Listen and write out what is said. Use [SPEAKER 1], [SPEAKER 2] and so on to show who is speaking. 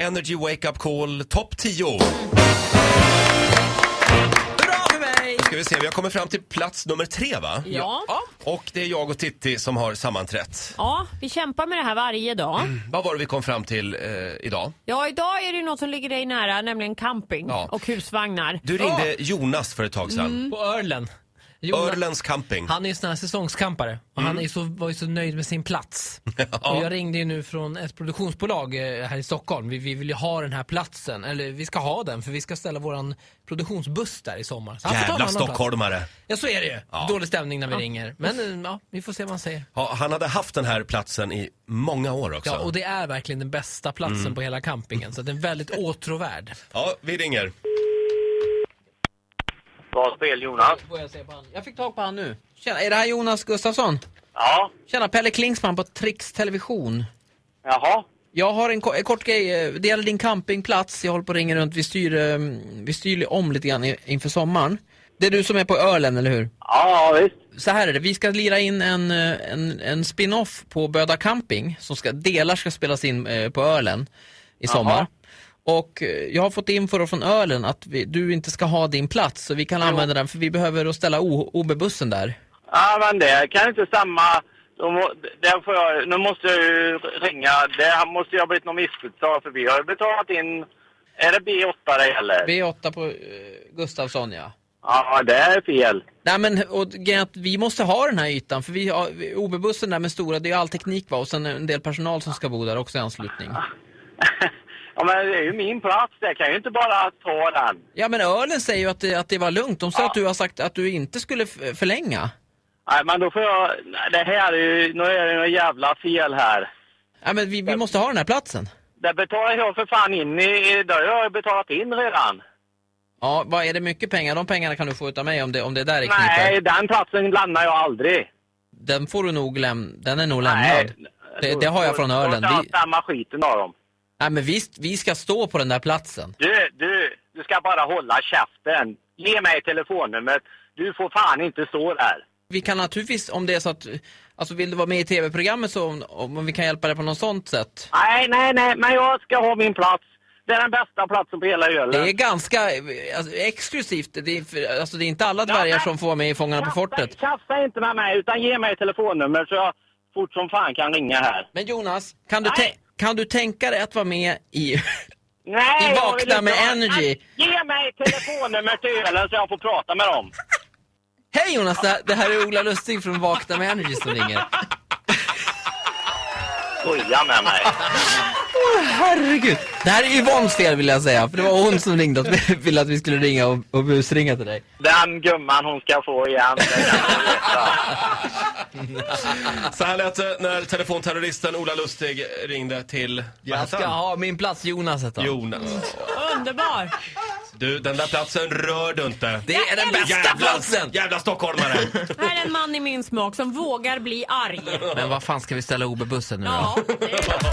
[SPEAKER 1] Energy Wake Up Call topp 10.
[SPEAKER 2] Bra för mig!
[SPEAKER 1] Ska vi se, vi har kommit fram till plats nummer tre va?
[SPEAKER 3] Ja.
[SPEAKER 2] Ja,
[SPEAKER 1] Och det är jag och Titti som har sammanträtt.
[SPEAKER 3] ja, vi kämpar med det här varje dag.
[SPEAKER 1] Vad var det vi kom fram till eh, idag?
[SPEAKER 3] Ja, idag är det ju något som ligger dig nära, nämligen camping
[SPEAKER 1] Ja.
[SPEAKER 3] och husvagnar.
[SPEAKER 1] Du ringde Jonas för ett tag sedan.
[SPEAKER 4] På Örlen. Jonas-
[SPEAKER 1] Örlens camping.
[SPEAKER 4] Han är ju sån här säsongskampare och
[SPEAKER 1] Mm.
[SPEAKER 4] han är så, var ju så nöjd med sin plats. Och jag ringde ju nu från ett produktionsbolag eh, här i Stockholm. Vi, vi vill ju ha den här platsen, eller vi ska ha den för vi ska ställa våran produktionsbuss där i sommar. Så han får ta en
[SPEAKER 1] Jävla
[SPEAKER 4] annan plats.
[SPEAKER 1] stockholmare.
[SPEAKER 4] Ja så är det ju.
[SPEAKER 1] Ja.
[SPEAKER 4] Dålig stämning när vi ringer. Men eh, ja, vi får se vad han säger.
[SPEAKER 1] Ja, han hade haft den här platsen i många år också.
[SPEAKER 4] Ja, och det är verkligen den bästa platsen
[SPEAKER 1] Mm.
[SPEAKER 4] på hela campingen. Så den är väldigt åtråvärd.
[SPEAKER 1] Ja, vi ringer.
[SPEAKER 5] Bra spel Jonas.
[SPEAKER 4] Jag fick tag på han nu. Tjena, är det här Jonas Gustafsson?
[SPEAKER 5] Ja,
[SPEAKER 4] Tjena, Pelle Klingsman på Trix Television.
[SPEAKER 5] jaha.
[SPEAKER 4] Jag har en, ko- en kort grej. eh, Det gäller din campingplats. Jag håller på och ringer runt. Vi styr, eh, vi styr om lite grann i- inför sommaren. Det är du som är på Ölen, eller hur?
[SPEAKER 5] Ja, ja, visst.
[SPEAKER 4] Så här är det. Vi ska lira in en, eh, en, en spin-off på Böda Camping. Som ska, delar ska spelas in eh, på Ölen i sommar.
[SPEAKER 5] Jaha.
[SPEAKER 4] Och eh, jag har fått info från Ölen att vi, du inte ska ha din plats. Så vi kan använda den för vi behöver att ställa O- OB-bussen där.
[SPEAKER 5] Ja, men det kan inte samma... Då må- Där får jag, nu måste jag ju ringa. Det här måste ju ha blivit något missförstånd för vi har ju betalat in... Är det B8 det gäller?
[SPEAKER 4] B8 på eh, Gustafsson ja.
[SPEAKER 5] Ja, det är fel.
[SPEAKER 4] Nej men och, grejen är att vi måste ha den här ytan för vi har vi- OB-bussen där med stora, det är ju all teknik va och sen en del personal som ska bo där också i anslutning.
[SPEAKER 5] ja, men det är ju min plats. Jag kan ju inte bara ta den.
[SPEAKER 4] Ja men Ölen säger ju att det, att det var lugnt, de sa att du har sagt att du inte skulle f- förlänga.
[SPEAKER 5] Nej, men då får jag... Nej, det här är ju... Nu är det något jävla fel här.
[SPEAKER 4] Ja men vi, vi måste ha den här platsen.
[SPEAKER 5] Det betalar jag för fan in i... Det har jag betalat in redan.
[SPEAKER 4] Ja, vad är det mycket pengar? De pengarna kan du få utav mig om det, om det där är
[SPEAKER 5] Nej,
[SPEAKER 4] knipar.
[SPEAKER 5] den platsen lämnar jag aldrig.
[SPEAKER 4] Den får du nog lämna, den är nog lämnad. Det, det har jag från Ölen.
[SPEAKER 5] Vi...
[SPEAKER 4] Vi,
[SPEAKER 5] samma skiten av dem.
[SPEAKER 4] nej men visst, vi ska stå på den där platsen.
[SPEAKER 5] Du, du, du ska bara hålla käften. Ge mig telefonnumret. Du får fan inte stå där.
[SPEAKER 4] Vi kan naturligtvis, om det är så att, alltså vill du vara med i tv-programmet så om, om vi kan hjälpa dig på något sånt sätt.
[SPEAKER 5] Nej, nej, nej, men jag ska ha min plats. Det är den bästa platsen på hela
[SPEAKER 4] Det
[SPEAKER 5] Öland.
[SPEAKER 4] är ganska eh, alltså, exklusivt. Det är, för- alltså, det är inte alla dvärgar som får vara med i Fångarna på fortet.
[SPEAKER 5] Kasta inte med mig, utan ge mig telefonnummer så jag fort som fan kan ringa här.
[SPEAKER 4] Men Jonas, kan du,
[SPEAKER 5] Nej.
[SPEAKER 4] tän- kan du tänka dig att vara med i... Vi
[SPEAKER 5] Nej, jag
[SPEAKER 4] vaknar
[SPEAKER 5] vill inte
[SPEAKER 4] med
[SPEAKER 5] ha-
[SPEAKER 4] energy.
[SPEAKER 5] Nej, Ge mig telefonnummer till Ölen så jag får prata med dem.
[SPEAKER 4] Hej Jonas, det här, det här är Ola Lustig från Vakna med Energy som ringer.
[SPEAKER 5] Skoja med mig.
[SPEAKER 4] Herregud! Det här är Yvonnes fel vill jag säga, för det var hon som ringde och ville att vi skulle ringa och, och busringa till dig.
[SPEAKER 5] Den gumman hon ska få igen. det kan jag veta.
[SPEAKER 1] Så här lät det när telefonterroristen Ola Lustig ringde till... Vad
[SPEAKER 4] Jag
[SPEAKER 1] hette
[SPEAKER 4] ska
[SPEAKER 1] han?
[SPEAKER 4] ha min plats Jonas hette han.
[SPEAKER 1] Jonas.
[SPEAKER 3] Underbar!
[SPEAKER 1] Du, den där platsen rör du inte.
[SPEAKER 4] Det är den bästa platsen!
[SPEAKER 1] jävla stockholmare!
[SPEAKER 3] Här är en man i min smak som vågar bli arg.
[SPEAKER 4] Men vad fan ska vi ställa OB-bussen nu då?
[SPEAKER 3] Ja, det är